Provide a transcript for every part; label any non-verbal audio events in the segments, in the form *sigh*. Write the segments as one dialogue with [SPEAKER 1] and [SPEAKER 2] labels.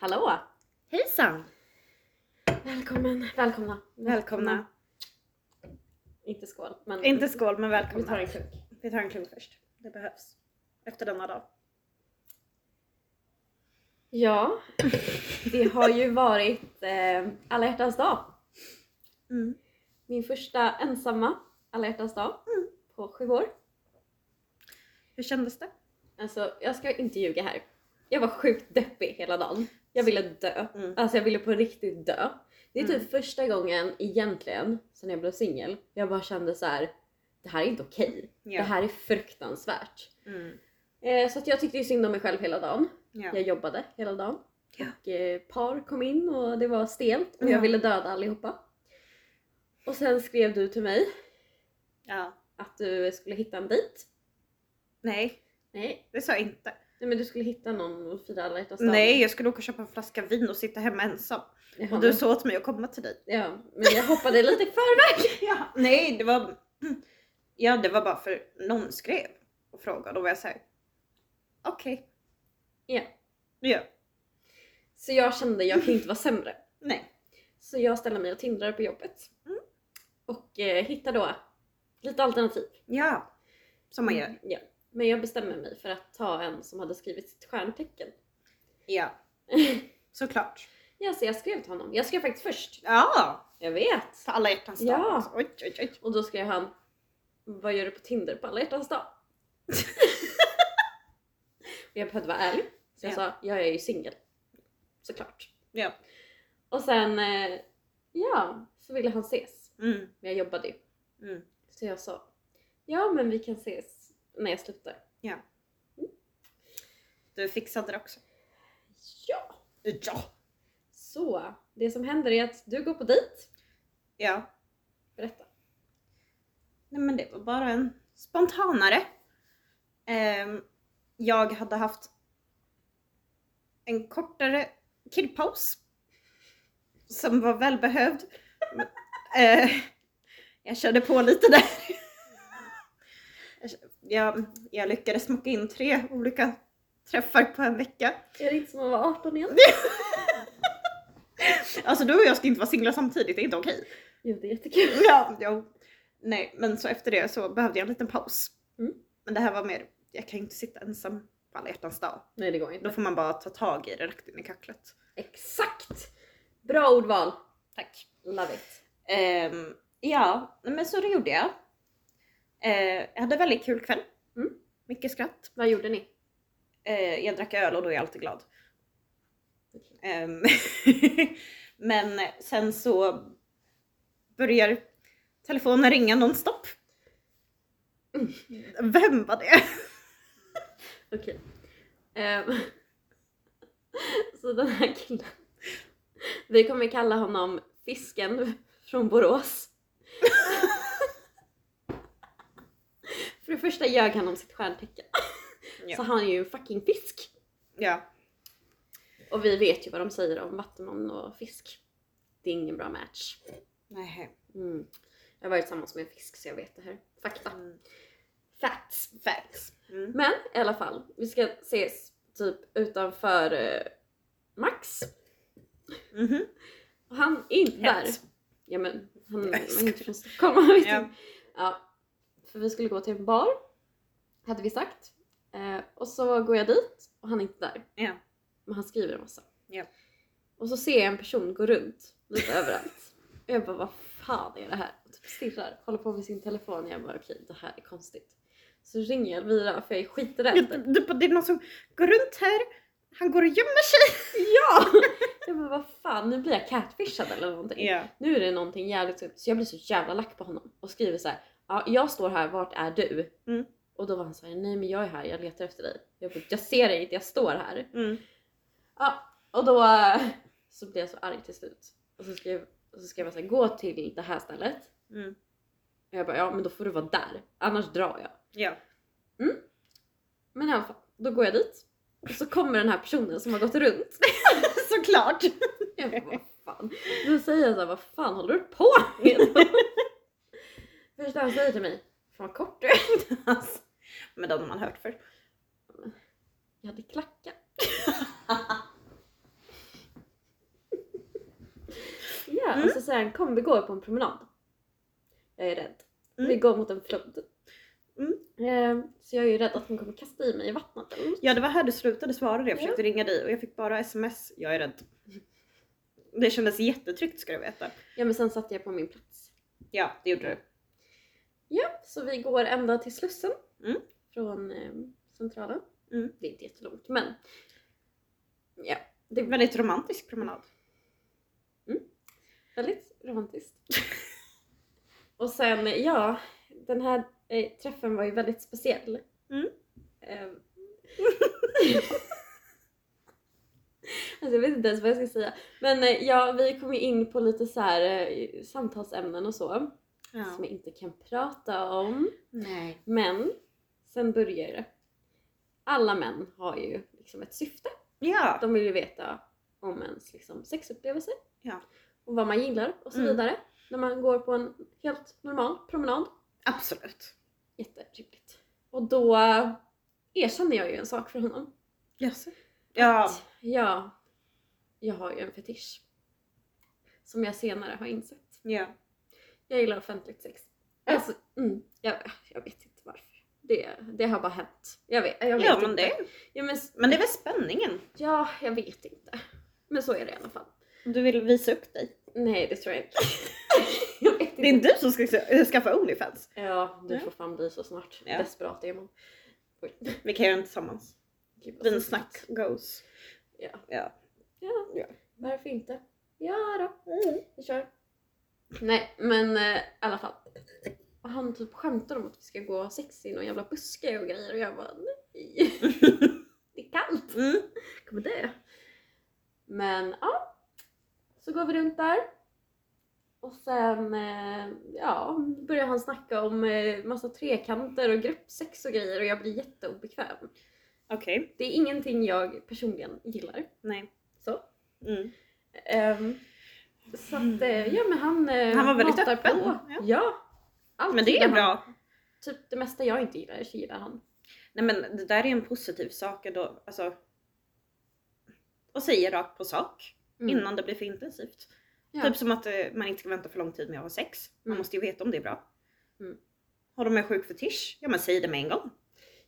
[SPEAKER 1] Hallå!
[SPEAKER 2] Hejsan!
[SPEAKER 1] Välkommen, välkomna. Mm.
[SPEAKER 2] Välkomna.
[SPEAKER 1] Inte skål, men
[SPEAKER 2] Inte skål men
[SPEAKER 1] Mm. vi
[SPEAKER 2] välkomna.
[SPEAKER 1] tar en klunk.
[SPEAKER 2] Vi tar en klunk först. Det behövs. Efter denna dag.
[SPEAKER 1] Ja, det har ju varit eh, alla hjärtans dag.
[SPEAKER 2] Mm.
[SPEAKER 1] Min första ensamma alla hjärtans dag
[SPEAKER 2] Mm.
[SPEAKER 1] på sju år.
[SPEAKER 2] Hur kändes det?
[SPEAKER 1] Alltså, jag ska inte ljuga här. Jag var sjukt deppig hela dagen. Jag ville dö.
[SPEAKER 2] Mm.
[SPEAKER 1] Alltså jag ville på riktigt dö. Det är typ
[SPEAKER 2] Mm.
[SPEAKER 1] första gången egentligen sen jag blev singel jag bara kände så här. det här är inte okej.
[SPEAKER 2] Ja.
[SPEAKER 1] Det här är fruktansvärt.
[SPEAKER 2] Mm.
[SPEAKER 1] Eh, så att jag tyckte ju synd om mig själv hela dagen.
[SPEAKER 2] Ja.
[SPEAKER 1] Jag jobbade hela dagen.
[SPEAKER 2] Ja.
[SPEAKER 1] Och eh, par kom in och det var stelt och
[SPEAKER 2] Ja.
[SPEAKER 1] jag ville döda allihopa. Och sen skrev du till mig
[SPEAKER 2] ja.
[SPEAKER 1] att du skulle hitta en dejt.
[SPEAKER 2] Nej,
[SPEAKER 1] Nej.
[SPEAKER 2] det sa jag inte.
[SPEAKER 1] Nej men du skulle hitta någon och fira alla hjärtans dag.
[SPEAKER 2] Nej, jag skulle åka och köpa en flaska vin och sitta hemma ensam.
[SPEAKER 1] Jaha,
[SPEAKER 2] Och du sa åt mig att komma
[SPEAKER 1] *laughs*
[SPEAKER 2] till dig.
[SPEAKER 1] Ja, men jag hoppade lite i förväg.
[SPEAKER 2] Ja. Nej, det var... Ja, det var bara för någon skrev och frågade och var jag såhär... Okej.
[SPEAKER 1] Ja.
[SPEAKER 2] Ja.
[SPEAKER 1] Så jag kände jag kan inte vara sämre.
[SPEAKER 2] Nej.
[SPEAKER 1] Så jag ställde mig och tindrade på jobbet.
[SPEAKER 2] Mm.
[SPEAKER 1] Och eh, hittade då lite alternativ.
[SPEAKER 2] Ja. Som man gör.
[SPEAKER 1] Mm, Ja. Men jag bestämde mig för att ta en som hade skrivit sitt stjärntecken. *laughs*
[SPEAKER 2] Ja. Såklart.
[SPEAKER 1] ja, så jag skrev till honom. Jag skrev faktiskt först.
[SPEAKER 2] Ja!
[SPEAKER 1] Jag vet.
[SPEAKER 2] För alla hjärtans dag.
[SPEAKER 1] Ja.
[SPEAKER 2] också. Oj, oj, oj.
[SPEAKER 1] Och då skrev han Vad gör du på Tinder på alla hjärtans dag? *laughs* och jag behövde vara ärlig. Så jag
[SPEAKER 2] Ja.
[SPEAKER 1] sa, jag är ju singel. Såklart.
[SPEAKER 2] Ja.
[SPEAKER 1] Och sen, eh, ja, så ville han ses.
[SPEAKER 2] Mm.
[SPEAKER 1] Men jag jobbade ju.
[SPEAKER 2] Mm.
[SPEAKER 1] Så jag sa, ja men vi kan ses när jag slutar.
[SPEAKER 2] Du fixade det också.
[SPEAKER 1] Ja!
[SPEAKER 2] Ja.
[SPEAKER 1] Så, det som händer är att du går på dejt.
[SPEAKER 2] Ja.
[SPEAKER 1] Berätta.
[SPEAKER 2] Nej men det var bara en spontanare. Ehm, jag hade haft en kortare killpaus. Som var välbehövd. *laughs* Eh, jag körde på lite där. *laughs* Jag, jag lyckades smaka in tre olika träffar på en vecka.
[SPEAKER 1] Är det inte som att vara 18 igen?
[SPEAKER 2] Alltså du och jag ska inte vara singlar samtidigt, det är inte okej.
[SPEAKER 1] Jo, det är jättekul.
[SPEAKER 2] *laughs* Ja, jo. Nej, men så efter det så behövde jag en liten paus.
[SPEAKER 1] Mm.
[SPEAKER 2] Men det här var mer, jag kan ju inte sitta ensam på alla hjärtans dag.
[SPEAKER 1] Nej, det går
[SPEAKER 2] Då
[SPEAKER 1] inte.
[SPEAKER 2] får man bara ta tag i det rakt in i kacklet.
[SPEAKER 1] Exakt! Bra ordval.
[SPEAKER 2] Tack.
[SPEAKER 1] Love it.
[SPEAKER 2] Ehm, ja, nej, men så det gjorde jag. Eh, jag hade en väldigt kul kväll.
[SPEAKER 1] Mm.
[SPEAKER 2] Mycket skratt.
[SPEAKER 1] Vad gjorde ni?
[SPEAKER 2] Eh, jag drack öl och då är jag alltid glad. Ehm, *laughs* men sen så börjar telefonen ringa nonstop.
[SPEAKER 1] Mm.
[SPEAKER 2] Vem var det?
[SPEAKER 1] Okej. Ehm, *laughs* så den här killen. Vi kommer kalla honom Fisken från Borås. För det första ljög han om sitt stjärntecken.
[SPEAKER 2] Ja.
[SPEAKER 1] Så han är ju en fucking fisk.
[SPEAKER 2] Ja.
[SPEAKER 1] Och vi vet ju vad de säger om vattenman och fisk. Det är ingen bra match.
[SPEAKER 2] Nej.
[SPEAKER 1] Mm. Jag har varit tillsammans med en fisk så jag vet det här. Fakta.
[SPEAKER 2] Mm.
[SPEAKER 1] Facts.
[SPEAKER 2] Facts. Mm.
[SPEAKER 1] Men i alla fall, vi ska ses typ utanför eh, Max.
[SPEAKER 2] Mhm.
[SPEAKER 1] Och han är inte där.
[SPEAKER 2] Hett.
[SPEAKER 1] Ja men han
[SPEAKER 2] Jag
[SPEAKER 1] var
[SPEAKER 2] skojar.
[SPEAKER 1] inte från Stockholm. Han vet
[SPEAKER 2] Ja.
[SPEAKER 1] inte. Ja. För vi skulle gå till en bar. Hade vi sagt. Eh, och så går jag dit och han är inte där.
[SPEAKER 2] Ja.
[SPEAKER 1] Men han skriver en massa.
[SPEAKER 2] Ja.
[SPEAKER 1] Och så ser jag en person gå runt lite överallt. Och jag bara vad fan är det här? Och typ stirrar, håller på med sin telefon. Jag bara okej det här är konstigt. Så ringer jag Elvira för jag är
[SPEAKER 2] Ja,
[SPEAKER 1] skiträdd.
[SPEAKER 2] du- du bara, Det är någon som går runt här, han går och gömmer sig.
[SPEAKER 1] Ja! *laughs* Jag bara vad fan nu blir jag catfishad eller någonting.
[SPEAKER 2] Ja.
[SPEAKER 1] Nu är det någonting jävligt skumt så jag blir så jävla lack på honom och skriver så här. Ja, jag står här, vart är du?
[SPEAKER 2] Mm.
[SPEAKER 1] Och då var han så här, nej men jag är här, jag letar efter dig. Jag bara, jag ser dig inte, jag står här.
[SPEAKER 2] Mm.
[SPEAKER 1] Ja, och då *laughs* eh, så blev jag så arg till slut. Och så skrev, och så skrev jag så här, gå till det här stället.
[SPEAKER 2] Mm.
[SPEAKER 1] Och jag bara, ja men då får du vara där, annars drar jag.
[SPEAKER 2] Ja.
[SPEAKER 1] Men i alla fall, då går jag dit. Och så kommer den här personen som har gått runt.
[SPEAKER 2] *laughs* Såklart.
[SPEAKER 1] Jag *laughs* bara, vad fan. Då säger jag såhär, vad fan håller du på *laughs* med? Först han säger till mig, fan vad kort du är.
[SPEAKER 2] Alltså, Men den har man hört för.
[SPEAKER 1] *laughs* Jag hade klackar. ankommer, vi går på en promenad. Jag är rädd.
[SPEAKER 2] Mm.
[SPEAKER 1] Vi går mot en flod.
[SPEAKER 2] Mm.
[SPEAKER 1] Eh, så jag är ju rädd att hon kommer kasta i mig i vattnet eller något.
[SPEAKER 2] Ja det var här du slutade svara, jag försökte ringa dig och jag fick bara sms, jag är rädd. Det kändes jättetryggt ska du veta.
[SPEAKER 1] Ja men sen satt jag på min plats.
[SPEAKER 2] Ja, det gjorde du.
[SPEAKER 1] Ja, så vi går ända till Slussen.
[SPEAKER 2] Mm.
[SPEAKER 1] Från eh, Centralen.
[SPEAKER 2] Mm.
[SPEAKER 1] Det är inte jättelångt men. Ja, det är
[SPEAKER 2] Väldigt romantisk promenad.
[SPEAKER 1] väldigt romantiskt. *laughs* Och sen ja, den här eh, träffen var ju väldigt speciell.
[SPEAKER 2] Mm.
[SPEAKER 1] Eh,
[SPEAKER 2] *laughs*
[SPEAKER 1] *laughs* Alltså jag vet inte ens vad jag ska säga. Men eh, ja, vi kom ju in på lite så här eh, samtalsämnen och så. Som jag inte kan prata om.
[SPEAKER 2] Nej.
[SPEAKER 1] Men sen börjar det. Alla män har ju liksom ett syfte.
[SPEAKER 2] Ja.
[SPEAKER 1] De vill ju veta om ens liksom, sexupplevelse.
[SPEAKER 2] Ja.
[SPEAKER 1] Och vad man gillar och så
[SPEAKER 2] Mm.
[SPEAKER 1] vidare. När man går på en helt normal promenad.
[SPEAKER 2] Absolut.
[SPEAKER 1] Jätterimligt. Och då erkänner jag ju en sak för honom.
[SPEAKER 2] Yes. Ja.
[SPEAKER 1] Ja, jag har ju en fetisch. Som jag senare har insett.
[SPEAKER 2] ja.
[SPEAKER 1] Jag gillar offentligt sex. Alltså, mm, jag, jag vet inte varför. Det, det har bara hänt. Jag vet, jag vet
[SPEAKER 2] Ja men
[SPEAKER 1] inte.
[SPEAKER 2] det,
[SPEAKER 1] Ja men, s-
[SPEAKER 2] men det är väl spänningen.
[SPEAKER 1] ja, jag vet inte. Men så är det i alla fall.
[SPEAKER 2] Du vill visa upp dig.
[SPEAKER 1] Nej, det tror jag inte. *laughs* jag vet
[SPEAKER 2] Det är du som ska ska- skaffa Onlyfans.
[SPEAKER 1] Ja, du
[SPEAKER 2] Ja.
[SPEAKER 1] får fan bli så snart.
[SPEAKER 2] Ja.
[SPEAKER 1] Desperat är man. Oj.
[SPEAKER 2] Vi kan göra den tillsammans.
[SPEAKER 1] Gud, vad
[SPEAKER 2] Vinsnack
[SPEAKER 1] snyggt.
[SPEAKER 2] goes.
[SPEAKER 1] Ja.
[SPEAKER 2] Ja.
[SPEAKER 1] Ja.
[SPEAKER 2] Ja.
[SPEAKER 1] varför inte? Ja då. Vi kör. Nej men eh, i alla fall. Och han typ skämtar om att vi ska gå och ha sex i någon jävla buske och grejer och jag bara nej. Det är kallt.
[SPEAKER 2] Mm.
[SPEAKER 1] Jag kommer dö. Men ja. Så går vi runt där. Och sen eh, ja, börjar han snacka om eh, massa trekanter och gruppsex och grejer och jag blir jätteobekväm.
[SPEAKER 2] *laughs* Okej.
[SPEAKER 1] Det är ingenting jag personligen gillar.
[SPEAKER 2] Nej.
[SPEAKER 1] Så.
[SPEAKER 2] Mm.
[SPEAKER 1] Ehm, så att, eh, ja men han eh,
[SPEAKER 2] Han var väldigt
[SPEAKER 1] matar
[SPEAKER 2] öppen.
[SPEAKER 1] På.
[SPEAKER 2] Ja.
[SPEAKER 1] Ja. ja. Allt
[SPEAKER 2] Men det
[SPEAKER 1] gillar
[SPEAKER 2] är
[SPEAKER 1] han.
[SPEAKER 2] bra.
[SPEAKER 1] Typ det mesta jag inte gillar så gillar han.
[SPEAKER 2] Nej men det där är en positiv sak då, alltså. Och säga rakt på sak
[SPEAKER 1] Mm.
[SPEAKER 2] innan det blir för intensivt.
[SPEAKER 1] Ja.
[SPEAKER 2] Typ som att eh, man inte ska vänta för lång tid med att ha sex. Man
[SPEAKER 1] Mm.
[SPEAKER 2] måste ju veta om det är bra.
[SPEAKER 1] Mm.
[SPEAKER 2] Har de en sjuk fetisch? Ja men säg det med en gång.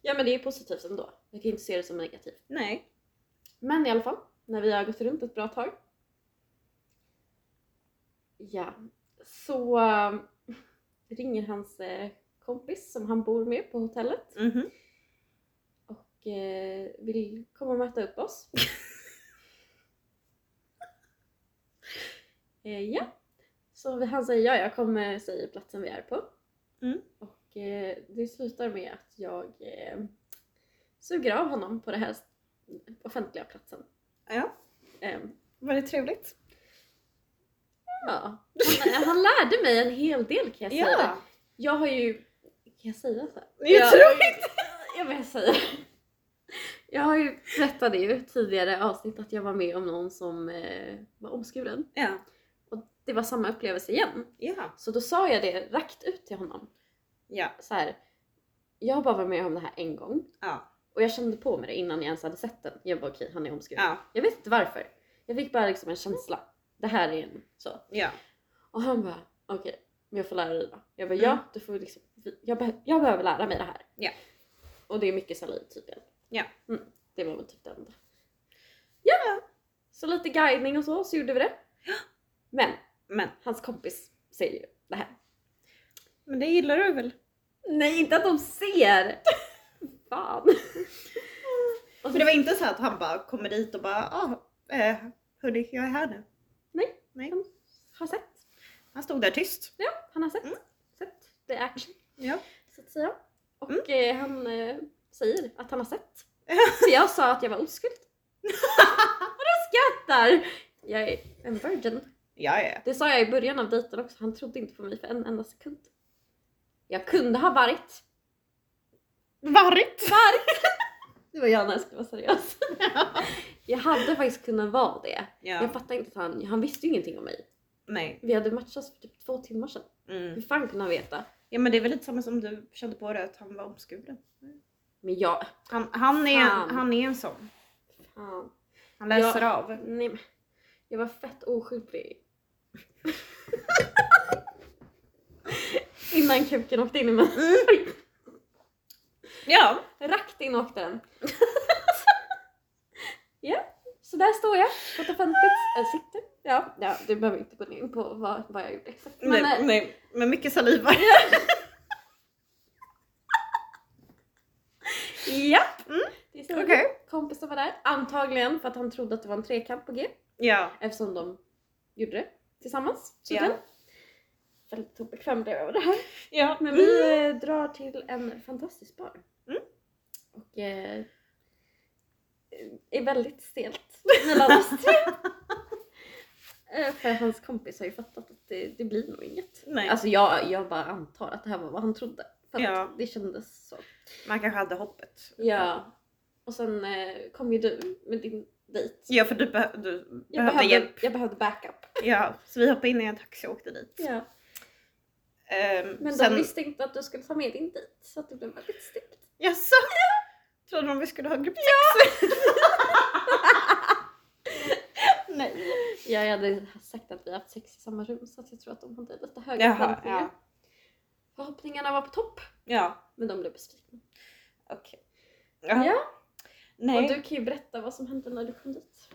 [SPEAKER 1] Ja men det är ju positivt ändå. Jag kan ju inte se det som negativt.
[SPEAKER 2] Nej.
[SPEAKER 1] Men i alla fall, när vi har gått runt ett bra tag. Ja, så eh, ringer hans eh, kompis som han bor med på hotellet
[SPEAKER 2] Mhm.
[SPEAKER 1] och eh, vill komma och möta upp oss. eh, ja, så vi- han säger ja, jag kommer, säger platsen vi är på.
[SPEAKER 2] Mm.
[SPEAKER 1] Och eh, det slutar med att jag eh, suger av honom på den här offentliga platsen.
[SPEAKER 2] Ja,
[SPEAKER 1] Eh,
[SPEAKER 2] väldigt trevligt.
[SPEAKER 1] ja. han, han lärde mig en hel del kan jag säga.
[SPEAKER 2] Ja.
[SPEAKER 1] Jag har ju, kan jag säga så? här?
[SPEAKER 2] Jag tror
[SPEAKER 1] inte! Jag vill säga. Jag har ju berättat det ju tidigare avsnitt att jag var med om någon som eh, var omskuren.
[SPEAKER 2] Ja.
[SPEAKER 1] Och det var samma upplevelse igen.
[SPEAKER 2] Ja.
[SPEAKER 1] Så då sa jag det rakt ut till honom.
[SPEAKER 2] Ja.
[SPEAKER 1] Så här. Jag har bara varit med om det här en gång.
[SPEAKER 2] Ja.
[SPEAKER 1] Och jag kände på mig det innan jag ens hade sett den. Jag bara okej, han är omskuren.
[SPEAKER 2] Ja.
[SPEAKER 1] Jag vet inte varför. Jag fick bara liksom en känsla. Det här är en så.
[SPEAKER 2] Ja.
[SPEAKER 1] Och han bara okej, men jag får lära dig då. Jag bara
[SPEAKER 2] Mm.
[SPEAKER 1] ja, du får liksom, jag, beh- jag behöver lära mig det här.
[SPEAKER 2] Ja.
[SPEAKER 1] Och det är mycket saliv tydligen.
[SPEAKER 2] Ja.
[SPEAKER 1] Mm, det var väl typ det enda. Ja! Så lite guidning och så, så gjorde vi det. Men
[SPEAKER 2] Men,
[SPEAKER 1] hans kompis ser ju det här.
[SPEAKER 2] men det gillar du väl?
[SPEAKER 1] Nej, inte att de ser! *laughs* Fan. Och
[SPEAKER 2] För
[SPEAKER 1] så,
[SPEAKER 2] det var inte så att han bara kommer dit och bara ah, eh, hörni jag är här nu.
[SPEAKER 1] Nej.
[SPEAKER 2] Nej.
[SPEAKER 1] har sett.
[SPEAKER 2] Han stod där tyst.
[SPEAKER 1] Ja, han har sett.
[SPEAKER 2] Mm.
[SPEAKER 1] Sett. Det är action.
[SPEAKER 2] Ja.
[SPEAKER 1] så att säga. Och eh, han eh, säger att han har *laughs* sett.
[SPEAKER 2] Ja.
[SPEAKER 1] Så jag sa att jag var *laughs* oskuld. Och då skrattar! Jag är en virgin.
[SPEAKER 2] Ja, ja.
[SPEAKER 1] Det sa jag i början av dejten också, han trodde inte på mig för en enda sekund. Jag kunde ha varit. *laughs*
[SPEAKER 2] Varigt!
[SPEAKER 1] Varit! Det var jag när jag skulle vara *laughs* seriös. Jag hade faktiskt kunnat vara det. Jag
[SPEAKER 2] Ja.
[SPEAKER 1] fattar inte att han, han visste ju ingenting om mig.
[SPEAKER 2] Nej.
[SPEAKER 1] Vi hade matchats för typ två timmar sedan. Hur
[SPEAKER 2] Mm.
[SPEAKER 1] fan kunde han veta?
[SPEAKER 2] Ja men det är väl lite samma som du kände på det att han var omskuren.
[SPEAKER 1] Men jag...
[SPEAKER 2] Han, han, är,
[SPEAKER 1] Fan.
[SPEAKER 2] han är en sån.
[SPEAKER 1] Fan.
[SPEAKER 2] Han läser
[SPEAKER 1] Ja.
[SPEAKER 2] av.
[SPEAKER 1] Nej men. Jag var fett oskyldig. *laughs* Innan kuken åkte in i mig.
[SPEAKER 2] Mm. Ja,
[SPEAKER 1] Rakt in åkte den. *laughs* ja, så där står jag på ett offentligt äh, sitter. Ja, ja, du behöver inte gå in på vad, vad jag gjorde exakt. Men,
[SPEAKER 2] nej,
[SPEAKER 1] eh,
[SPEAKER 2] nej, med mycket saliva.
[SPEAKER 1] eh, Ja! Det är så.
[SPEAKER 2] Mm. Okej.
[SPEAKER 1] Kompisen var där, antagligen för att han trodde att det var en trekant på G
[SPEAKER 2] *laughs* Ja.
[SPEAKER 1] eftersom de gjorde det tillsammans. Så
[SPEAKER 2] Ja.
[SPEAKER 1] den. Väldigt obekväm blev jag över det här.
[SPEAKER 2] ja.
[SPEAKER 1] Men vi eh, drar till en fantastisk bar.
[SPEAKER 2] Mm.
[SPEAKER 1] Och eh, är väldigt stelt mellan oss
[SPEAKER 2] *laughs*
[SPEAKER 1] tre. Eh, För hans kompis har ju fattat att det, det blir nog inget.
[SPEAKER 2] Nej.
[SPEAKER 1] Alltså jag, jag bara antar att det här var vad han trodde. För att
[SPEAKER 2] Ja.
[SPEAKER 1] det kändes så.
[SPEAKER 2] Man kanske hade hoppet.
[SPEAKER 1] Ja. Och sen eh, kom ju du med din dejt.
[SPEAKER 2] Ja, för du, beh- du
[SPEAKER 1] Jag
[SPEAKER 2] behövde hjälp.
[SPEAKER 1] jag behövde backup.
[SPEAKER 2] Ja, så vi hoppade in i en taxi och åkte dit.
[SPEAKER 1] Ja.
[SPEAKER 2] Ehm,
[SPEAKER 1] Men
[SPEAKER 2] sen...
[SPEAKER 1] de visste inte att du skulle ta med din dejt så att det blev väldigt stelt.
[SPEAKER 2] Jaså? Trodde de vi skulle ha gruppsex? Nej.
[SPEAKER 1] Ja, jag hade sagt att vi haft sex i samma rum så att jag tror att de hade lite höga
[SPEAKER 2] Jaha,
[SPEAKER 1] förväntningar.
[SPEAKER 2] ja.
[SPEAKER 1] Förhoppningarna var på topp,
[SPEAKER 2] Ja,
[SPEAKER 1] men de blev besvikna.
[SPEAKER 2] okej. Ja.
[SPEAKER 1] Ja, och
[SPEAKER 2] Nej.
[SPEAKER 1] du kan ju berätta vad som hände när du kom dit.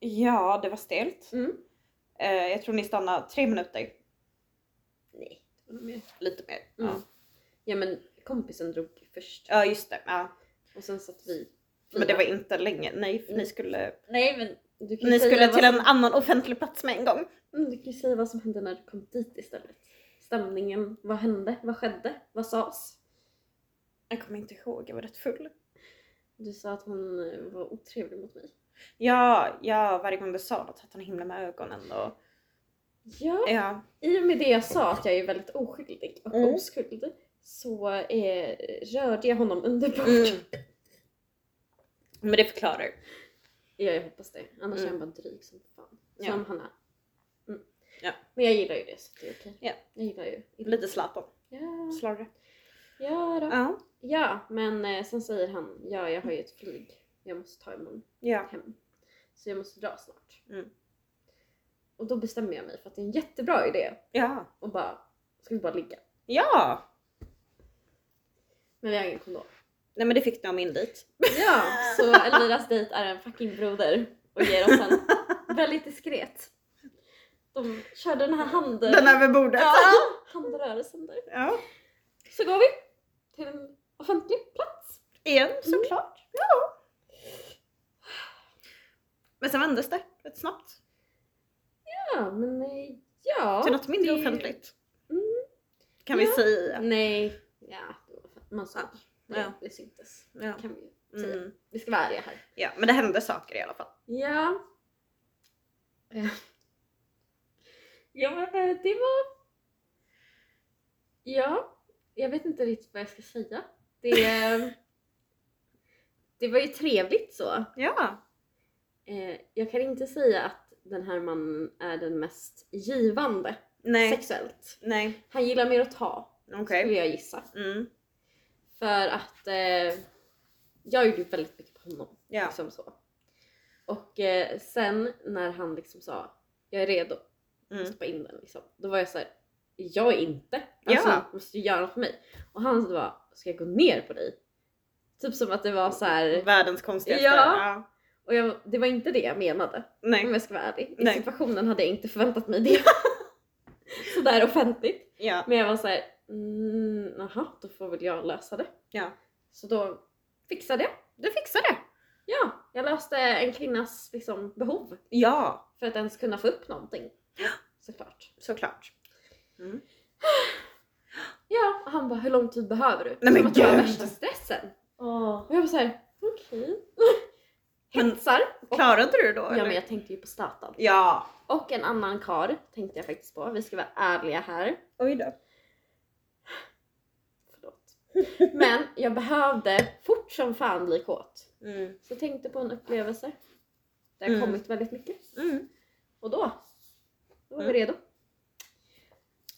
[SPEAKER 2] Ja, det var stelt.
[SPEAKER 1] Mm.
[SPEAKER 2] Eh, jag tror ni stannade tre minuter.
[SPEAKER 1] Nej, det var nog mer.
[SPEAKER 2] Lite mer.
[SPEAKER 1] Mm.
[SPEAKER 2] Ja.
[SPEAKER 1] Ja men kompisen drog ju först
[SPEAKER 2] ja, just det. Ja.
[SPEAKER 1] och sen satt vi
[SPEAKER 2] Men det var inte länge. Nej,
[SPEAKER 1] Mm.
[SPEAKER 2] för ni skulle,
[SPEAKER 1] Nej men du kan ju
[SPEAKER 2] ni
[SPEAKER 1] säga
[SPEAKER 2] skulle
[SPEAKER 1] vad
[SPEAKER 2] till
[SPEAKER 1] som-
[SPEAKER 2] en annan offentlig plats med en gång.
[SPEAKER 1] Mm, Du kan ju säga vad som hände när du kom dit istället. Stämningen, vad hände, vad skedde, vad sades?
[SPEAKER 2] Jag kommer inte ihåg, jag var rätt full.
[SPEAKER 1] Du sa att hon eh, var otrevlig mot mig.
[SPEAKER 2] Ja, ja varje gång du sa något att han himla med ögonen och...
[SPEAKER 1] Ja,
[SPEAKER 2] Ja.
[SPEAKER 1] I och med det jag sa att jag är väldigt oskyldig och
[SPEAKER 2] Mm.
[SPEAKER 1] oskuld så eh, rörde jag honom underbart.
[SPEAKER 2] Mm. Men det förklarar.
[SPEAKER 1] *laughs* Ja, jag hoppas det. Annars
[SPEAKER 2] Mm.
[SPEAKER 1] är han bara dryg som fan.
[SPEAKER 2] Ja.
[SPEAKER 1] Som han är. Mm.
[SPEAKER 2] Ja.
[SPEAKER 1] Men jag gillar ju det så det är okej.
[SPEAKER 2] Ja.
[SPEAKER 1] Jag gillar ju.
[SPEAKER 2] Lite släpad.
[SPEAKER 1] Ja,
[SPEAKER 2] Slagre.
[SPEAKER 1] ja, då.
[SPEAKER 2] Ja.
[SPEAKER 1] ja men eh, sen säger han ja jag har ju ett flyg jag måste ta imorgon
[SPEAKER 2] Ja.
[SPEAKER 1] hem. Så jag måste dra snart.
[SPEAKER 2] Mm.
[SPEAKER 1] Och då bestämmer jag mig för att det är en jättebra idé
[SPEAKER 2] Ja.
[SPEAKER 1] och bara ska vi bara ligga.
[SPEAKER 2] Ja!
[SPEAKER 1] Men vi har ingen kondom.
[SPEAKER 2] Nej men det fick ni av min dit.
[SPEAKER 1] Ja, så Eliras dejt är en fucking broder och ger oss en väldigt diskret. De körde den här handen...
[SPEAKER 2] Den över bordet.
[SPEAKER 1] ja, handrörelsen där.
[SPEAKER 2] Ja.
[SPEAKER 1] Så går vi till en offentlig plats.
[SPEAKER 2] Igen såklart. Ja. Men sen vändes det rätt snabbt.
[SPEAKER 1] Ja, men eh, ja.
[SPEAKER 2] Till något mindre
[SPEAKER 1] det-
[SPEAKER 2] offentligt.
[SPEAKER 1] Mm.
[SPEAKER 2] Kan
[SPEAKER 1] Ja.
[SPEAKER 2] vi säga.
[SPEAKER 1] Nej, ja. det var- Man såg.
[SPEAKER 2] Ja.
[SPEAKER 1] Nej,
[SPEAKER 2] Ja.
[SPEAKER 1] det syntes.
[SPEAKER 2] Ja.
[SPEAKER 1] Kan vi ju säga.
[SPEAKER 2] Mm.
[SPEAKER 1] Vi ska vara ärliga här.
[SPEAKER 2] ja. Men det hände saker i alla fall.
[SPEAKER 1] Ja. Eh. Ja men eh, det var... Ja, jag vet inte riktigt vad jag ska säga. Det, eh, det var ju trevligt så.
[SPEAKER 2] Ja.
[SPEAKER 1] Eh, Jag kan inte säga att den här mannen är den mest givande
[SPEAKER 2] Nej.
[SPEAKER 1] sexuellt.
[SPEAKER 2] Nej.
[SPEAKER 1] Han gillar mer att ta,
[SPEAKER 2] Okej.
[SPEAKER 1] skulle jag gissa.
[SPEAKER 2] Mm.
[SPEAKER 1] För att eh, jag gjorde ju väldigt mycket på honom.
[SPEAKER 2] Ja.
[SPEAKER 1] Liksom så. Och eh, sen när han liksom sa jag är redo,
[SPEAKER 2] Mm.
[SPEAKER 1] stoppa in den liksom. Då var jag så här, jag är inte.
[SPEAKER 2] Ja.
[SPEAKER 1] Alltså du måste ju göra något för mig. Och han var, ska jag gå ner på dig? Typ som att det var så här.
[SPEAKER 2] Världens konstigaste.
[SPEAKER 1] Ja. och jag, det var inte det jag menade. Om
[SPEAKER 2] Nej.
[SPEAKER 1] jag ska vara ärlig. I
[SPEAKER 2] Nej.
[SPEAKER 1] situationen hade jag inte förväntat mig det. *laughs* Sådär offentligt.
[SPEAKER 2] Ja.
[SPEAKER 1] Men jag var så här, mm, jaha, då får väl jag lösa det.
[SPEAKER 2] Ja.
[SPEAKER 1] Så då fixade jag.
[SPEAKER 2] Du fixade det.
[SPEAKER 1] Ja, jag löste en kvinnas liksom, behov
[SPEAKER 2] Ja.
[SPEAKER 1] för att ens kunna få upp någonting. Såklart.
[SPEAKER 2] Såklart.
[SPEAKER 1] Ja, och han bara hur lång tid behöver du?
[SPEAKER 2] men
[SPEAKER 1] Som att jag har
[SPEAKER 2] gud.
[SPEAKER 1] värsta stressen. Och jag var såhär, okej.
[SPEAKER 2] *laughs* Men-
[SPEAKER 1] Hetsar. Och,
[SPEAKER 2] Klarade du det då?
[SPEAKER 1] ja
[SPEAKER 2] eller?
[SPEAKER 1] men jag tänkte ju på Zlatan.
[SPEAKER 2] ja.
[SPEAKER 1] Och en annan kar tänkte jag faktiskt på. Vi ska vara ärliga här.
[SPEAKER 2] Oj då. *laughs*
[SPEAKER 1] Förlåt. Men jag behövde fort som fan bli kåt. Så jag tänkte på en upplevelse. Det har
[SPEAKER 2] Mm.
[SPEAKER 1] kommit väldigt mycket. Och då, då var vi
[SPEAKER 2] Mm.
[SPEAKER 1] redo.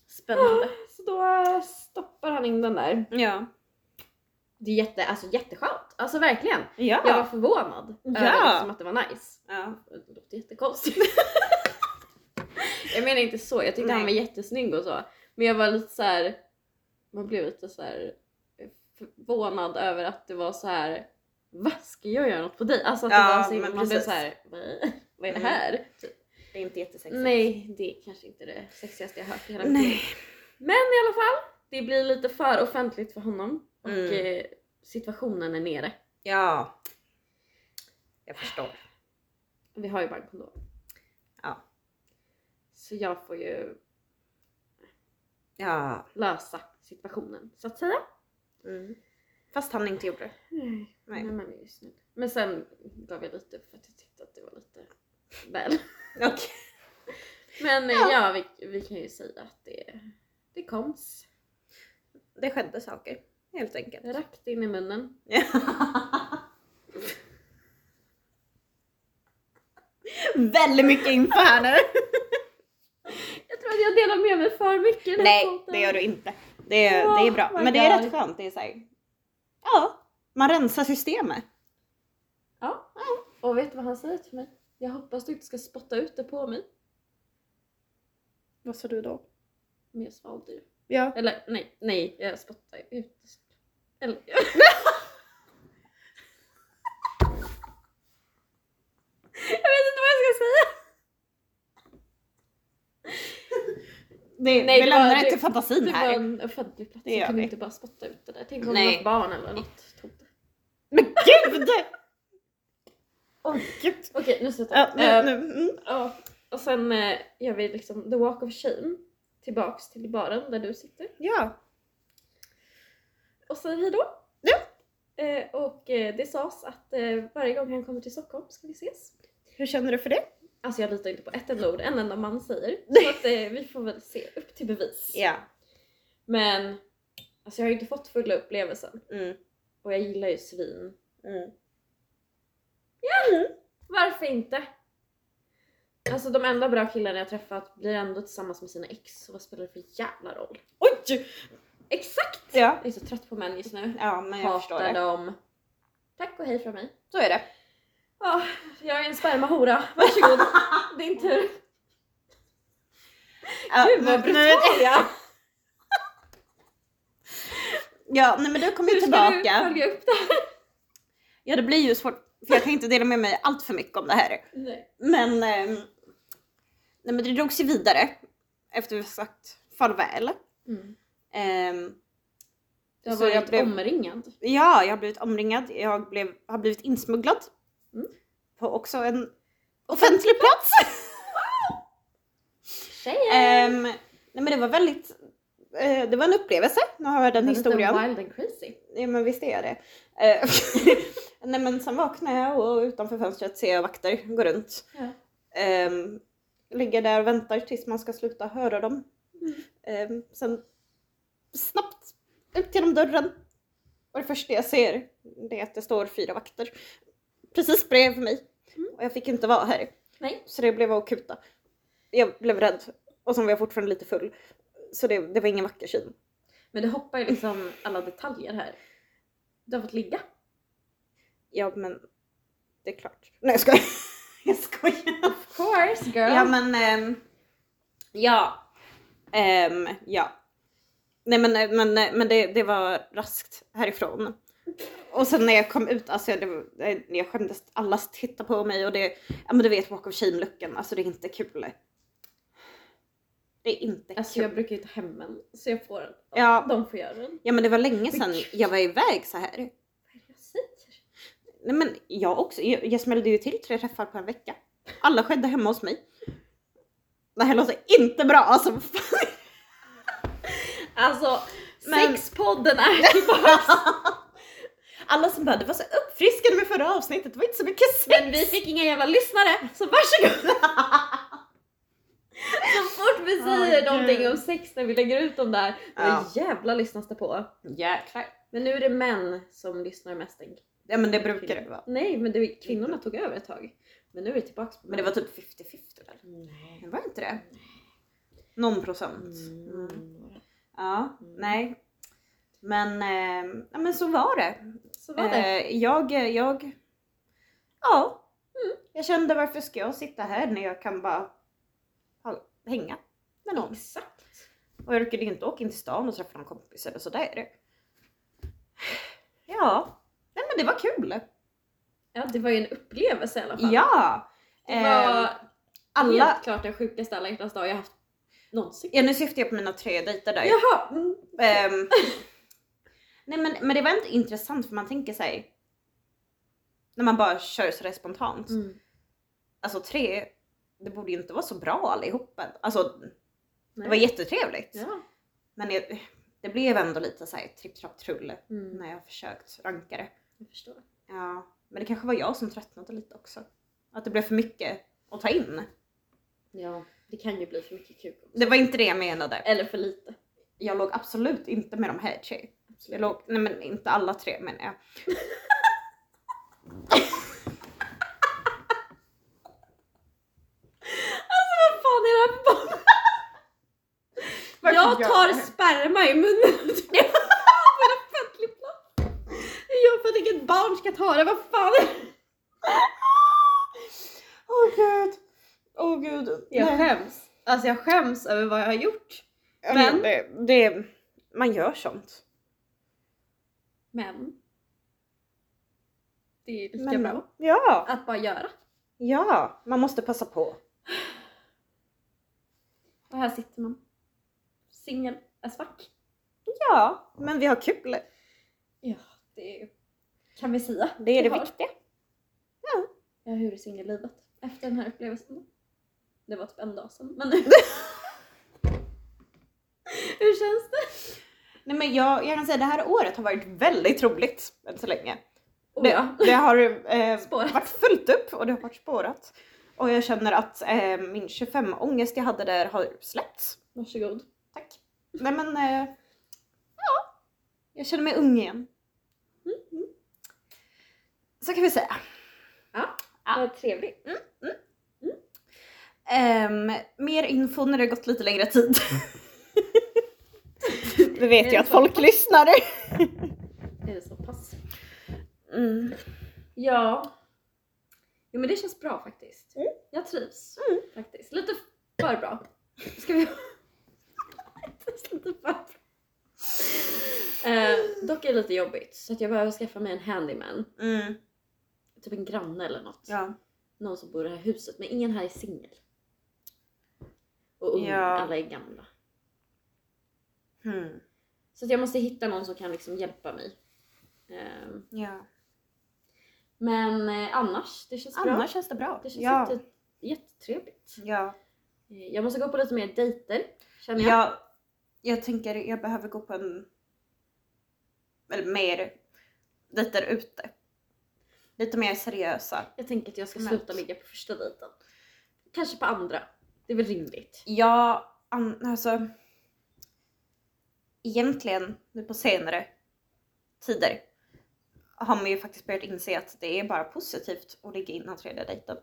[SPEAKER 2] Spännande.
[SPEAKER 1] Så då stoppar han in den där.
[SPEAKER 2] Ja.
[SPEAKER 1] Det är jätte, alltså jätteskönt. Alltså verkligen.
[SPEAKER 2] Ja.
[SPEAKER 1] Jag var förvånad
[SPEAKER 2] Ja.
[SPEAKER 1] över liksom att det var nice.
[SPEAKER 2] ja. *laughs*
[SPEAKER 1] Det låter jättekonstigt. Jag menar inte så, jag tyckte
[SPEAKER 2] Nej.
[SPEAKER 1] han var jättesnygg och så. Men jag var lite så här. man blev lite så här förvånad över att det var så här. vad ska jag göra något på dig? Alltså att
[SPEAKER 2] Ja,
[SPEAKER 1] det var så,
[SPEAKER 2] men
[SPEAKER 1] man blev
[SPEAKER 2] precis.
[SPEAKER 1] så här. "Va? vad är det
[SPEAKER 2] Mm.
[SPEAKER 1] här?
[SPEAKER 2] Det är inte jättesexigt.
[SPEAKER 1] Nej, det är kanske inte det sexigaste jag hört i hela mitt liv.
[SPEAKER 2] Nej.
[SPEAKER 1] Men i alla fall, det blir lite för offentligt för honom och
[SPEAKER 2] Mm.
[SPEAKER 1] eh, situationen är nere.
[SPEAKER 2] Ja. Jag förstår.
[SPEAKER 1] Vi har ju bankkontor.
[SPEAKER 2] Ja.
[SPEAKER 1] Så jag får ju
[SPEAKER 2] Ja.
[SPEAKER 1] lösa situationen så att säga.
[SPEAKER 2] Mm. Fast han inte gjorde det.
[SPEAKER 1] Nej.
[SPEAKER 2] Nej.
[SPEAKER 1] Men, man är ju snygg. men sen gav jag lite för att jag tyckte att det var lite väl.
[SPEAKER 2] Okej.
[SPEAKER 1] Men eh, ja, vi, vi kan ju säga att det, det koms.
[SPEAKER 2] Det skedde saker. Helt enkelt.
[SPEAKER 1] Rakt in i munnen.
[SPEAKER 2] Väldigt mycket info här nu.
[SPEAKER 1] Jag tror att jag delar med mig för mycket i *laughs* den här
[SPEAKER 2] Nej,
[SPEAKER 1] podden.
[SPEAKER 2] det gör du inte. Det, är-
[SPEAKER 1] Oh
[SPEAKER 2] det är bra.
[SPEAKER 1] my
[SPEAKER 2] Men det är
[SPEAKER 1] God.
[SPEAKER 2] rätt skönt. Det är så här, ja, man rensar systemet.
[SPEAKER 1] Ja. Och vet du vad han säger till mig? Jag hoppas du inte ska spotta ut det på mig.
[SPEAKER 2] Vad sa du då?
[SPEAKER 1] Men jag svalde ju.
[SPEAKER 2] Ja.
[SPEAKER 1] Eller nej, nej, jag spottar ju ut. Eller... jag vet inte vad jag ska säga.
[SPEAKER 2] Det,
[SPEAKER 1] Nej,
[SPEAKER 2] vi
[SPEAKER 1] det var-
[SPEAKER 2] lämnar det
[SPEAKER 1] det-
[SPEAKER 2] till fantasin
[SPEAKER 1] Det
[SPEAKER 2] här.
[SPEAKER 1] var en offentlig plats,
[SPEAKER 2] Det
[SPEAKER 1] jag
[SPEAKER 2] gör
[SPEAKER 1] kunde
[SPEAKER 2] vi.
[SPEAKER 1] inte bara spotta ut det där. Tänk om
[SPEAKER 2] Nej.
[SPEAKER 1] något barn eller något tog det.
[SPEAKER 2] Men gud! Åh gud.
[SPEAKER 1] Okej, nu slutar
[SPEAKER 2] Ja,
[SPEAKER 1] jag.
[SPEAKER 2] nu,
[SPEAKER 1] Eh,
[SPEAKER 2] nu. Mm.
[SPEAKER 1] ja. Och sen eh, gör vi liksom the walk of shame tillbaks till baren där du sitter.
[SPEAKER 2] ja.
[SPEAKER 1] och säger hejdå.
[SPEAKER 2] Ja.
[SPEAKER 1] Eh, och eh, det sades att eh, varje gång han kommer till Stockholm ska vi ses.
[SPEAKER 2] Hur känner du för det?
[SPEAKER 1] Alltså jag litar inte på ett enda ord en enda man
[SPEAKER 2] *laughs*
[SPEAKER 1] säger. Så att, eh, vi får väl se upp till bevis.
[SPEAKER 2] Ja.
[SPEAKER 1] Men alltså jag har ju inte fått fulla upplevelsen
[SPEAKER 2] Mm.
[SPEAKER 1] och jag gillar ju svin.
[SPEAKER 2] Mm.
[SPEAKER 1] Varför inte? Alltså de enda bra killarna jag träffat blir ändå tillsammans med sina ex så vad spelar det för jävla roll?
[SPEAKER 2] Oj!
[SPEAKER 1] Exakt!
[SPEAKER 2] Ja.
[SPEAKER 1] Jag är så trött på män just nu.
[SPEAKER 2] ja, men jag förstår
[SPEAKER 1] Hatar
[SPEAKER 2] det.
[SPEAKER 1] dem. Tack och hej från mig.
[SPEAKER 2] Så är det.
[SPEAKER 1] Ja, jag är en spermahora. Varsågod. *laughs* Din tur.
[SPEAKER 2] Ja,
[SPEAKER 1] Gud vad
[SPEAKER 2] nu- nu-
[SPEAKER 1] brutal jag
[SPEAKER 2] Ja, nej, men du kommer ju
[SPEAKER 1] Hur ska du
[SPEAKER 2] tillbaka.
[SPEAKER 1] följa upp det här?
[SPEAKER 2] Ja, det blir ju svårt. För jag kan inte dela med mig allt för mycket om det här.
[SPEAKER 1] Nej.
[SPEAKER 2] Men, ehm, nej, men det drogs ju vidare efter vi har sagt farväl. Ehm,
[SPEAKER 1] Du Mm. har
[SPEAKER 2] Så jag
[SPEAKER 1] varit
[SPEAKER 2] blev-
[SPEAKER 1] omringad.
[SPEAKER 2] ja, jag har blivit omringad. Jag blev, har blivit insmugglad.
[SPEAKER 1] Mm.
[SPEAKER 2] På också en offentlig plats.
[SPEAKER 1] Tjejer!
[SPEAKER 2] Ehm, nej men det var väldigt, eh, det var en upplevelse. Nu har jag den historien.
[SPEAKER 1] Wild and crazy.
[SPEAKER 2] Ja men visst är jag det. Eh, *laughs* nej men sen vaknade jag och utanför fönstret ser jag vakter gå runt.
[SPEAKER 1] Ja.
[SPEAKER 2] Ehm, ligger där och väntar tills man ska sluta höra dem.
[SPEAKER 1] Mm.
[SPEAKER 2] Ehm, sen snabbt ut genom dörren. Och det första jag ser det är att det står fyra vakter precis bredvid mig.
[SPEAKER 1] Mm.
[SPEAKER 2] Och jag fick inte vara här.
[SPEAKER 1] Nej.
[SPEAKER 2] Så det blev akuta. Jag blev rädd. Och sen var jag fortfarande lite full. Så det, det var ingen vacker syn.
[SPEAKER 1] Men du hoppar ju liksom alla detaljer här. Du har fått ligga.
[SPEAKER 2] Ja men det är klart. Nej jag skojar. *laughs* Jag skojar.
[SPEAKER 1] Of course girl.
[SPEAKER 2] Ja men ehm, ja. Ehm, ja. Nej men, eh, men, men det, det var raskt härifrån. Och sen när jag kom ut, alltså jag, det, var- jag skämdes, alla tittade på mig och det, ja men du vet bakom shame-looken, alltså det är inte kul. Det är inte
[SPEAKER 1] Alltså
[SPEAKER 2] kul.
[SPEAKER 1] jag brukar ju ta hem en så jag får en.
[SPEAKER 2] Ja.
[SPEAKER 1] De får göra den.
[SPEAKER 2] Ja men det var länge sedan jag var iväg så här.
[SPEAKER 1] Vad är det jag säger?
[SPEAKER 2] Nej men jag också, jag, jag smällde ju till tre träffar på en vecka. Alla skedde hemma hos mig. Det här låter inte bra alltså.
[SPEAKER 1] Alltså
[SPEAKER 2] Men-
[SPEAKER 1] sexpodden är
[SPEAKER 2] *laughs*
[SPEAKER 1] tillbaks.
[SPEAKER 2] Alla som bara, det var så uppfriskande med förra avsnittet, det var inte så mycket sex.
[SPEAKER 1] Men vi fick inga jävla lyssnare så varsågod! Så fort vi säger
[SPEAKER 2] *laughs* Åh,
[SPEAKER 1] någonting
[SPEAKER 2] gud.
[SPEAKER 1] om sex när vi lägger ut dem där,
[SPEAKER 2] Ja.
[SPEAKER 1] då jävlar lyssnas det på.
[SPEAKER 2] Jäklar.
[SPEAKER 1] Men nu är det män som lyssnar mest. tänk.
[SPEAKER 2] Ja men det brukar det vara.
[SPEAKER 1] Nej men det, kvinnorna tog över ett tag. Men nu är det tillbaks på
[SPEAKER 2] Men det var typ 50-50 där.
[SPEAKER 1] Nej.
[SPEAKER 2] Det var inte det? Någon procent. Mm. Ja,
[SPEAKER 1] Mm.
[SPEAKER 2] nej. Men, eh, ja, men så var det.
[SPEAKER 1] Så var det.
[SPEAKER 2] Eh, jag, jag, mm. ja. Jag kände varför ska jag sitta här när jag kan bara ha hänga med någon.
[SPEAKER 1] Exakt.
[SPEAKER 2] Och jag orkade ju inte åka in till stan och träffa någon kompis eller sådär. Ja, nej men det var kul.
[SPEAKER 1] Ja, det var ju en upplevelse i alla fall.
[SPEAKER 2] Ja!
[SPEAKER 1] det var
[SPEAKER 2] Eh, alla,
[SPEAKER 1] helt klart den sjukaste alla hjärtans dag jag haft någonsin.
[SPEAKER 2] ja, nu syftar jag på mina tre dejter där.
[SPEAKER 1] Jaha! mm.
[SPEAKER 2] Ehm, *laughs* nej men, men det var inte intressant för man tänker sig när man bara kör sådär spontant.
[SPEAKER 1] Mm.
[SPEAKER 2] Alltså tre, det borde ju inte vara så bra allihopa. Alltså det
[SPEAKER 1] Nej.
[SPEAKER 2] var jättetrevligt.
[SPEAKER 1] Ja.
[SPEAKER 2] Men jag, det blev ändå lite såhär tripp trapp trull
[SPEAKER 1] Mm.
[SPEAKER 2] när jag försökt ranka det.
[SPEAKER 1] Jag förstår.
[SPEAKER 2] Ja, men det kanske var jag som tröttnade lite också. Att det blev för mycket att ta in.
[SPEAKER 1] Ja, det kan ju bli för mycket kuk. också.
[SPEAKER 2] Det var inte det jag menade.
[SPEAKER 1] Eller för lite.
[SPEAKER 2] Jag låg absolut inte med de här tre. Jag
[SPEAKER 1] Absolut.
[SPEAKER 2] låg, nej men inte alla tre men jag.
[SPEAKER 1] Alltså vad fan är det här för barn? Jag tar sperma i munnen. *laughs* För en offentlig plats. Jag för att inget barn ska ta det, vad fan är det?
[SPEAKER 2] Åh oh, gud. Åh oh, gud.
[SPEAKER 1] Jag
[SPEAKER 2] Nej.
[SPEAKER 1] skäms. Alltså jag skäms över vad jag har gjort.
[SPEAKER 2] Ja,
[SPEAKER 1] men-
[SPEAKER 2] men det, det, man gör sånt.
[SPEAKER 1] Men. Det är lika
[SPEAKER 2] Men-
[SPEAKER 1] bra
[SPEAKER 2] Ja,
[SPEAKER 1] att bara göra.
[SPEAKER 2] ja, man måste passa på.
[SPEAKER 1] Och här sitter man. Singel as fuck.
[SPEAKER 2] Ja, men vi har kul.
[SPEAKER 1] Ja, det kan vi säga.
[SPEAKER 2] Det är
[SPEAKER 1] Vi
[SPEAKER 2] det
[SPEAKER 1] har.
[SPEAKER 2] viktiga.
[SPEAKER 1] Ja, hur är singellivet efter den här upplevelsen? Det var typ en dag sedan,
[SPEAKER 2] *laughs*
[SPEAKER 1] men nu. hur känns det?
[SPEAKER 2] Nej men jag, jag kan säga det här året har varit väldigt roligt än så länge.
[SPEAKER 1] Oh,
[SPEAKER 2] Det,
[SPEAKER 1] ja.
[SPEAKER 2] det har eh,
[SPEAKER 1] Spårat.
[SPEAKER 2] varit fullt upp och det har varit spårat. Och jag känner att eh, min 25-ångest jag hade där har släppts.
[SPEAKER 1] Varsågod.
[SPEAKER 2] Tack. Nej men, eh, ja. Jag känner mig ung igen. Mm. Mm. Så kan vi säga. Ja.
[SPEAKER 1] Vad trevligt.
[SPEAKER 2] Ehm, mer info när det gått lite längre *laughs* tid. Vi vet ju att folk lyssnar.
[SPEAKER 1] Är det så pass?
[SPEAKER 2] Mm.
[SPEAKER 1] Ja. Jo men det känns bra faktiskt.
[SPEAKER 2] Mm.
[SPEAKER 1] Jag trivs
[SPEAKER 2] Mm.
[SPEAKER 1] faktiskt. Lite för bra. Ska vi... *laughs* lite för bra. Eh, dock är det lite jobbigt så att jag behöver skaffa mig en handyman.
[SPEAKER 2] Mm.
[SPEAKER 1] Typ en granne eller något.
[SPEAKER 2] Ja.
[SPEAKER 1] Någon som bor i det här huset men ingen här är singel. Och ung,
[SPEAKER 2] Ja.
[SPEAKER 1] alla är gamla.
[SPEAKER 2] Mm.
[SPEAKER 1] Så att jag måste hitta någon som kan liksom hjälpa mig. Eh,
[SPEAKER 2] ja.
[SPEAKER 1] men eh, annars, det känns bra.
[SPEAKER 2] Annars känns det bra.
[SPEAKER 1] Det känns
[SPEAKER 2] ja.
[SPEAKER 1] jätte, jättetrevligt.
[SPEAKER 2] Ja.
[SPEAKER 1] Eh, Jag måste gå på lite mer dejter känner jag.
[SPEAKER 2] Jag, jag tänker jag behöver gå på en... Eller mer dejter ute. Lite mer seriösa.
[SPEAKER 1] Jag tänker att jag ska
[SPEAKER 2] Men-
[SPEAKER 1] sluta ligga på första dejten. Kanske på andra. Det är väl rimligt.
[SPEAKER 2] Ja, an, alltså... Egentligen, nu på senare tider, har man ju faktiskt börjat inse att det är bara positivt att ligga innan tredje dejten.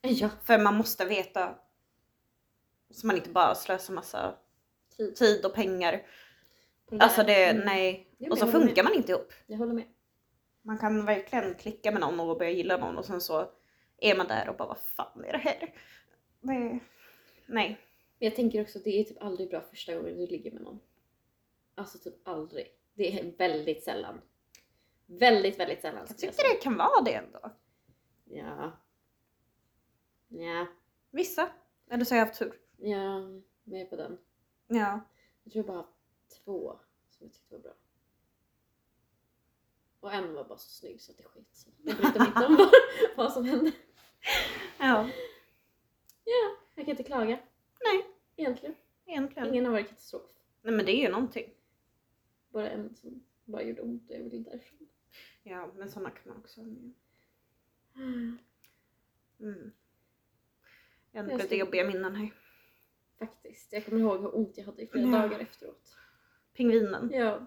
[SPEAKER 1] Ja,
[SPEAKER 2] För man måste veta så man inte bara slösar massa
[SPEAKER 1] tid.
[SPEAKER 2] tid och pengar.
[SPEAKER 1] på det
[SPEAKER 2] Alltså
[SPEAKER 1] där.
[SPEAKER 2] det,
[SPEAKER 1] Typ. Mm.
[SPEAKER 2] nej.
[SPEAKER 1] Jo, men
[SPEAKER 2] Och så
[SPEAKER 1] jag håller
[SPEAKER 2] funkar man inte ihop.
[SPEAKER 1] Jag håller med.
[SPEAKER 2] Man kan verkligen klicka med någon och börja gilla någon och sen så är man där och bara vad fan är det här? Det... Nej.
[SPEAKER 1] Men jag tänker också att det är typ aldrig bra första gången du ligger med någon. Alltså typ aldrig. Det är väldigt sällan. Väldigt, väldigt sällan.
[SPEAKER 2] Jag
[SPEAKER 1] skulle
[SPEAKER 2] tycker det kan vara det ändå.
[SPEAKER 1] säga. Ja. Ja.
[SPEAKER 2] Vissa. Eller så har jag haft tur.
[SPEAKER 1] Ja, med på den.
[SPEAKER 2] Ja.
[SPEAKER 1] Jag tror bara två som jag tyckte var bra. Och en var bara så snygg så att det sket sig. Jag brydde mig inte
[SPEAKER 2] *laughs*
[SPEAKER 1] om vad, vad som hände.
[SPEAKER 2] Ja.
[SPEAKER 1] Ja, jag kan inte klaga.
[SPEAKER 2] Nej.
[SPEAKER 1] Egentligen.
[SPEAKER 2] Egentligen.
[SPEAKER 1] Ingen har varit katastrof.
[SPEAKER 2] Nej men det är ju någonting.
[SPEAKER 1] Bara en som bara gjorde ont och jag ville därifrån.
[SPEAKER 2] Ja men sådana kan man också ha med. Mm. Jag
[SPEAKER 1] Jag
[SPEAKER 2] har
[SPEAKER 1] ska-
[SPEAKER 2] lite jobbiga minnen här.
[SPEAKER 1] Faktiskt. Jag kommer ihåg hur ont jag hade i flera
[SPEAKER 2] Ja.
[SPEAKER 1] dagar efteråt.
[SPEAKER 2] Pingvinen.
[SPEAKER 1] Ja.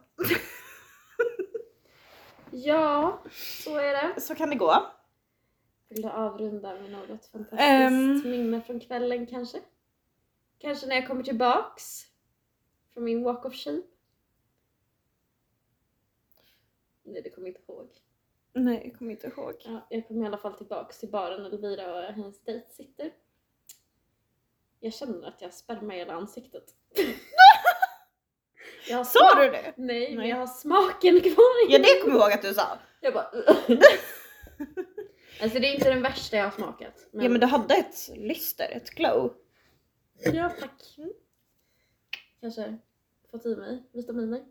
[SPEAKER 1] ja, så är det.
[SPEAKER 2] Så kan det gå.
[SPEAKER 1] Vill du avrunda med något fantastiskt
[SPEAKER 2] Ehm.
[SPEAKER 1] minne från kvällen kanske? Kanske när jag kommer tillbaks från min walk of shame? Nej, det kommer jag inte ihåg.
[SPEAKER 2] Nej jag kommer inte ihåg.
[SPEAKER 1] Ja, jag kommer i alla fall tillbaks till baren när Elvira och hennes dejt sitter. Jag känner att jag spärmar hela ansiktet. Jag har
[SPEAKER 2] Sa
[SPEAKER 1] smak-
[SPEAKER 2] du det?
[SPEAKER 1] Nej, men
[SPEAKER 2] Nej.
[SPEAKER 1] jag har smaken kvar. i-
[SPEAKER 2] Ja det kommer jag ihåg att du sa.
[SPEAKER 1] Jag bara...
[SPEAKER 2] *laughs*
[SPEAKER 1] alltså det är inte den värsta jag har smakat.
[SPEAKER 2] Ja men du hade ett lyster, ett glow.
[SPEAKER 1] Ja, tack. Kanske fått i mig vitaminer.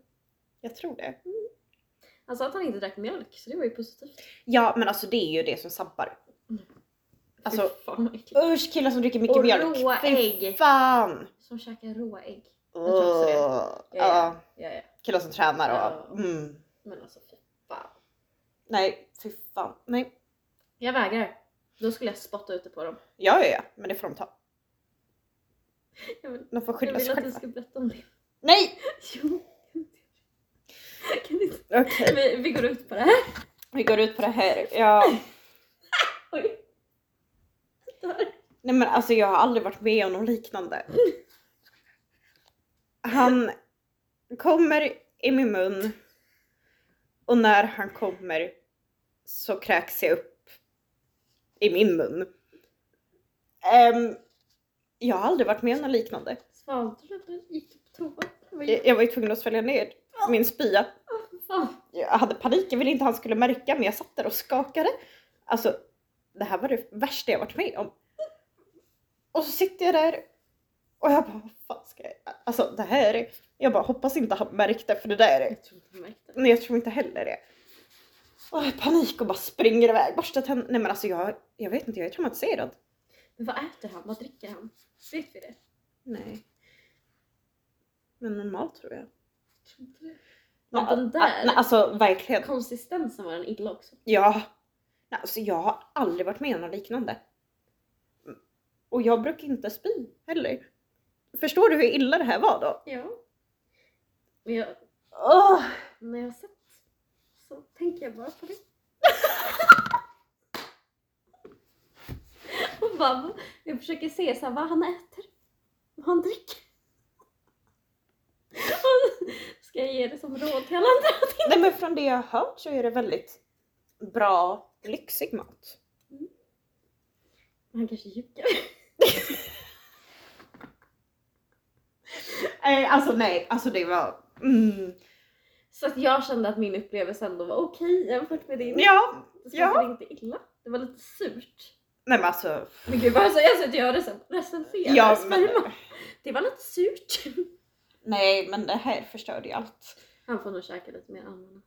[SPEAKER 2] Jag tror det.
[SPEAKER 1] Han sa att han inte drack mjölk, så det var ju positivt.
[SPEAKER 2] Ja men alltså det är ju det som sabbar. Alltså-
[SPEAKER 1] Fy fan vad äckligt.
[SPEAKER 2] Usch killar som dricker mycket
[SPEAKER 1] Och
[SPEAKER 2] mjölk.
[SPEAKER 1] råa
[SPEAKER 2] Fy
[SPEAKER 1] ägg.
[SPEAKER 2] Fan!
[SPEAKER 1] Som käkar råa ägg.
[SPEAKER 2] Åh.
[SPEAKER 1] tror också det.
[SPEAKER 2] Ja,
[SPEAKER 1] Ja, ja. Ja, ja.
[SPEAKER 2] killar som tränar och...
[SPEAKER 1] Ja.
[SPEAKER 2] Mm.
[SPEAKER 1] Men alltså fy fan.
[SPEAKER 2] Nej, fy fan. Nej.
[SPEAKER 1] Jag vägrar. Då skulle jag spotta ut det på dem.
[SPEAKER 2] Ja, ja, ja, men det får de ta.
[SPEAKER 1] Jag vill,
[SPEAKER 2] De får
[SPEAKER 1] jag
[SPEAKER 2] skylla
[SPEAKER 1] vill
[SPEAKER 2] sig
[SPEAKER 1] att du
[SPEAKER 2] själva.
[SPEAKER 1] ska berätta om det. *laughs*
[SPEAKER 2] Nej!
[SPEAKER 1] Jo. Kan inte.
[SPEAKER 2] Okej,
[SPEAKER 1] Vi, vi går ut på det här.
[SPEAKER 2] vi går ut på det här. Ja.
[SPEAKER 1] Oj. Där.
[SPEAKER 2] Nej men alltså jag har aldrig varit med om något liknande. Han kommer i min mun och när han kommer så kräks jag upp i min mun. Ehm, jag har aldrig varit med om något liknande.
[SPEAKER 1] Svalde du eller gick du på toa? Vad gjorde
[SPEAKER 2] Jag, jag var ju tvungen att svälja ner min spya.
[SPEAKER 1] du? Fan.
[SPEAKER 2] Jag hade panik, jag ville inte han skulle märka men jag satt där och skakade. Alltså, det här var det värsta jag varit med om. Och så sitter jag där och jag bara, vad fan ska jag Alltså det här är... Jag bara hoppas inte han märkte för det där är...
[SPEAKER 1] Jag tror inte jag märkte det.
[SPEAKER 2] Nej jag tror inte heller det. Och jag har panik och bara springer iväg, borstar tänderna. Nej men alltså jag, jag vet inte, jag är traumatiserad.
[SPEAKER 1] Men vad äter han? Vad dricker han? Vet vi det?
[SPEAKER 2] Nej. Men normalt tror jag.
[SPEAKER 1] Jag tror inte det. Men den där-
[SPEAKER 2] Nej, alltså verkligen.
[SPEAKER 1] Konsistensen var den illa också.
[SPEAKER 2] Ja. Nej, alltså jag har aldrig varit med om något liknande. Mm. Och jag brukar inte spy heller. Förstår du hur illa det här var då?
[SPEAKER 1] Ja. Men jag,
[SPEAKER 2] Åh!
[SPEAKER 1] när jag har sett så tänker jag bara på det. *laughs* Och bara, jag försöker se så här, vad han äter. Vad han dricker. *laughs* Och Ska jag ge det som råd till alla andra?
[SPEAKER 2] Nej men från det jag har hört så är det väldigt bra, lyxig mat.
[SPEAKER 1] Han kanske ljuger.
[SPEAKER 2] Eh, alltså nej, alltså det var... Mm.
[SPEAKER 1] Så att jag kände att min upplevelse ändå var okej jämfört med din.
[SPEAKER 2] Ja,
[SPEAKER 1] Det smakade
[SPEAKER 2] ja.
[SPEAKER 1] inte illa. Det var lite surt.
[SPEAKER 2] Nej men alltså.
[SPEAKER 1] Men gud vad jag säger så att jag recen- recenserar
[SPEAKER 2] Ja, men,
[SPEAKER 1] sperma. Det var lite surt. *laughs*
[SPEAKER 2] nej men det här förstörde ju allt.
[SPEAKER 1] Han får nog käka lite mer ananas.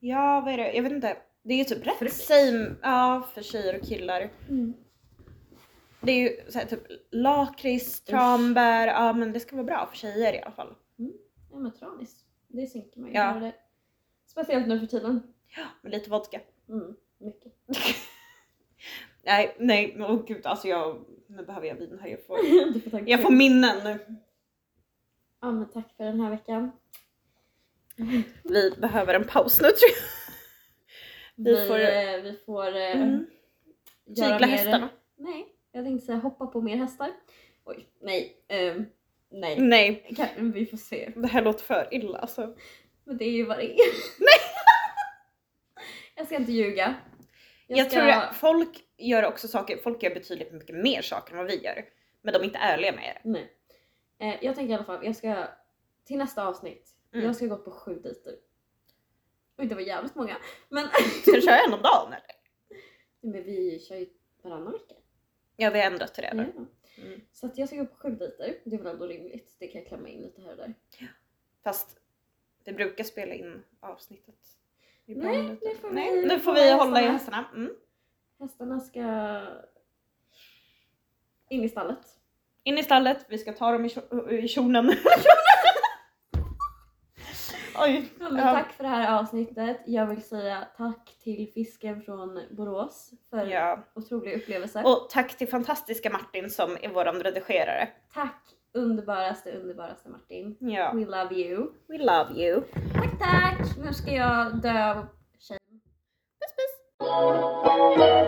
[SPEAKER 2] Ja vad är det, jag vet inte. Det är ju typ rätt
[SPEAKER 1] Frukt.
[SPEAKER 2] same, ja för tjejer och killar. Det är ju så här, typ lakrits, tranbär, ja men det ska vara bra för tjejer i alla fall.
[SPEAKER 1] Ja men tranis. Det synker man ju.
[SPEAKER 2] Ja.
[SPEAKER 1] Ja. Det. Speciellt nu för tiden.
[SPEAKER 2] Med lite vodka.
[SPEAKER 1] Mm, mycket. *laughs*
[SPEAKER 2] Nej, nej, men åh gud alltså jag, nu behöver jag vin här. Jag får,
[SPEAKER 1] du får tacka.
[SPEAKER 2] jag får minnen nu.
[SPEAKER 1] Ja men tack för den här veckan.
[SPEAKER 2] Vi behöver en paus nu tror jag. Vi
[SPEAKER 1] Vi
[SPEAKER 2] får-
[SPEAKER 1] får, eh, vi får eh,
[SPEAKER 2] Mm.
[SPEAKER 1] göra
[SPEAKER 2] Tygla
[SPEAKER 1] mer-
[SPEAKER 2] hästarna.
[SPEAKER 1] Nej, jag tänkte säga hoppa på mer hästar. Oj, nej. ehm, nej.
[SPEAKER 2] Nej,
[SPEAKER 1] Kan, vi får se.
[SPEAKER 2] det här låter för illa alltså.
[SPEAKER 1] Men det är ju vad det är. *laughs* jag ska inte ljuga.
[SPEAKER 2] Jag, tror att folk gör också saker, folk gör betydligt mycket mer saker än vad vi gör. Men de är inte ärliga med det.
[SPEAKER 1] Nej. Eh, jag tänker i alla fall, jag ska till nästa avsnitt,
[SPEAKER 2] Mm.
[SPEAKER 1] jag ska gå på sju dejter. Oj det var jävligt många. Men, *laughs*
[SPEAKER 2] Ska du köra en om dagen eller?
[SPEAKER 1] men vi kör ju varannan vecka.
[SPEAKER 2] Ja vi har ändrat till det nu.
[SPEAKER 1] Ja.
[SPEAKER 2] Mm.
[SPEAKER 1] Så att jag ska gå på sju dejter, det är väl ändå rimligt. Det kan jag klämma in lite här och där.
[SPEAKER 2] Fast vi brukar spela in avsnittet.
[SPEAKER 1] Nej,
[SPEAKER 2] Ibland lite.
[SPEAKER 1] nu får vi
[SPEAKER 2] Nej, nu får
[SPEAKER 1] hålla
[SPEAKER 2] vi hålla i
[SPEAKER 1] hästarna.
[SPEAKER 2] hästarna. Mm.
[SPEAKER 1] Hästarna ska in i stallet.
[SPEAKER 2] In i stallet, vi ska ta dem i, kjo- i kjolen. Oj.
[SPEAKER 1] Ja, men
[SPEAKER 2] Ja.
[SPEAKER 1] Tack för det här avsnittet. Jag vill säga tack till fisken från Borås för
[SPEAKER 2] Ja.
[SPEAKER 1] otrolig upplevelse.
[SPEAKER 2] Och tack till fantastiska Martin som är vår redigerare.
[SPEAKER 1] Tack underbaraste, underbaraste Martin.
[SPEAKER 2] Ja.
[SPEAKER 1] We love you.
[SPEAKER 2] We love you.
[SPEAKER 1] Tack, tack! Nu ska jag dö av shame.
[SPEAKER 2] Puss puss.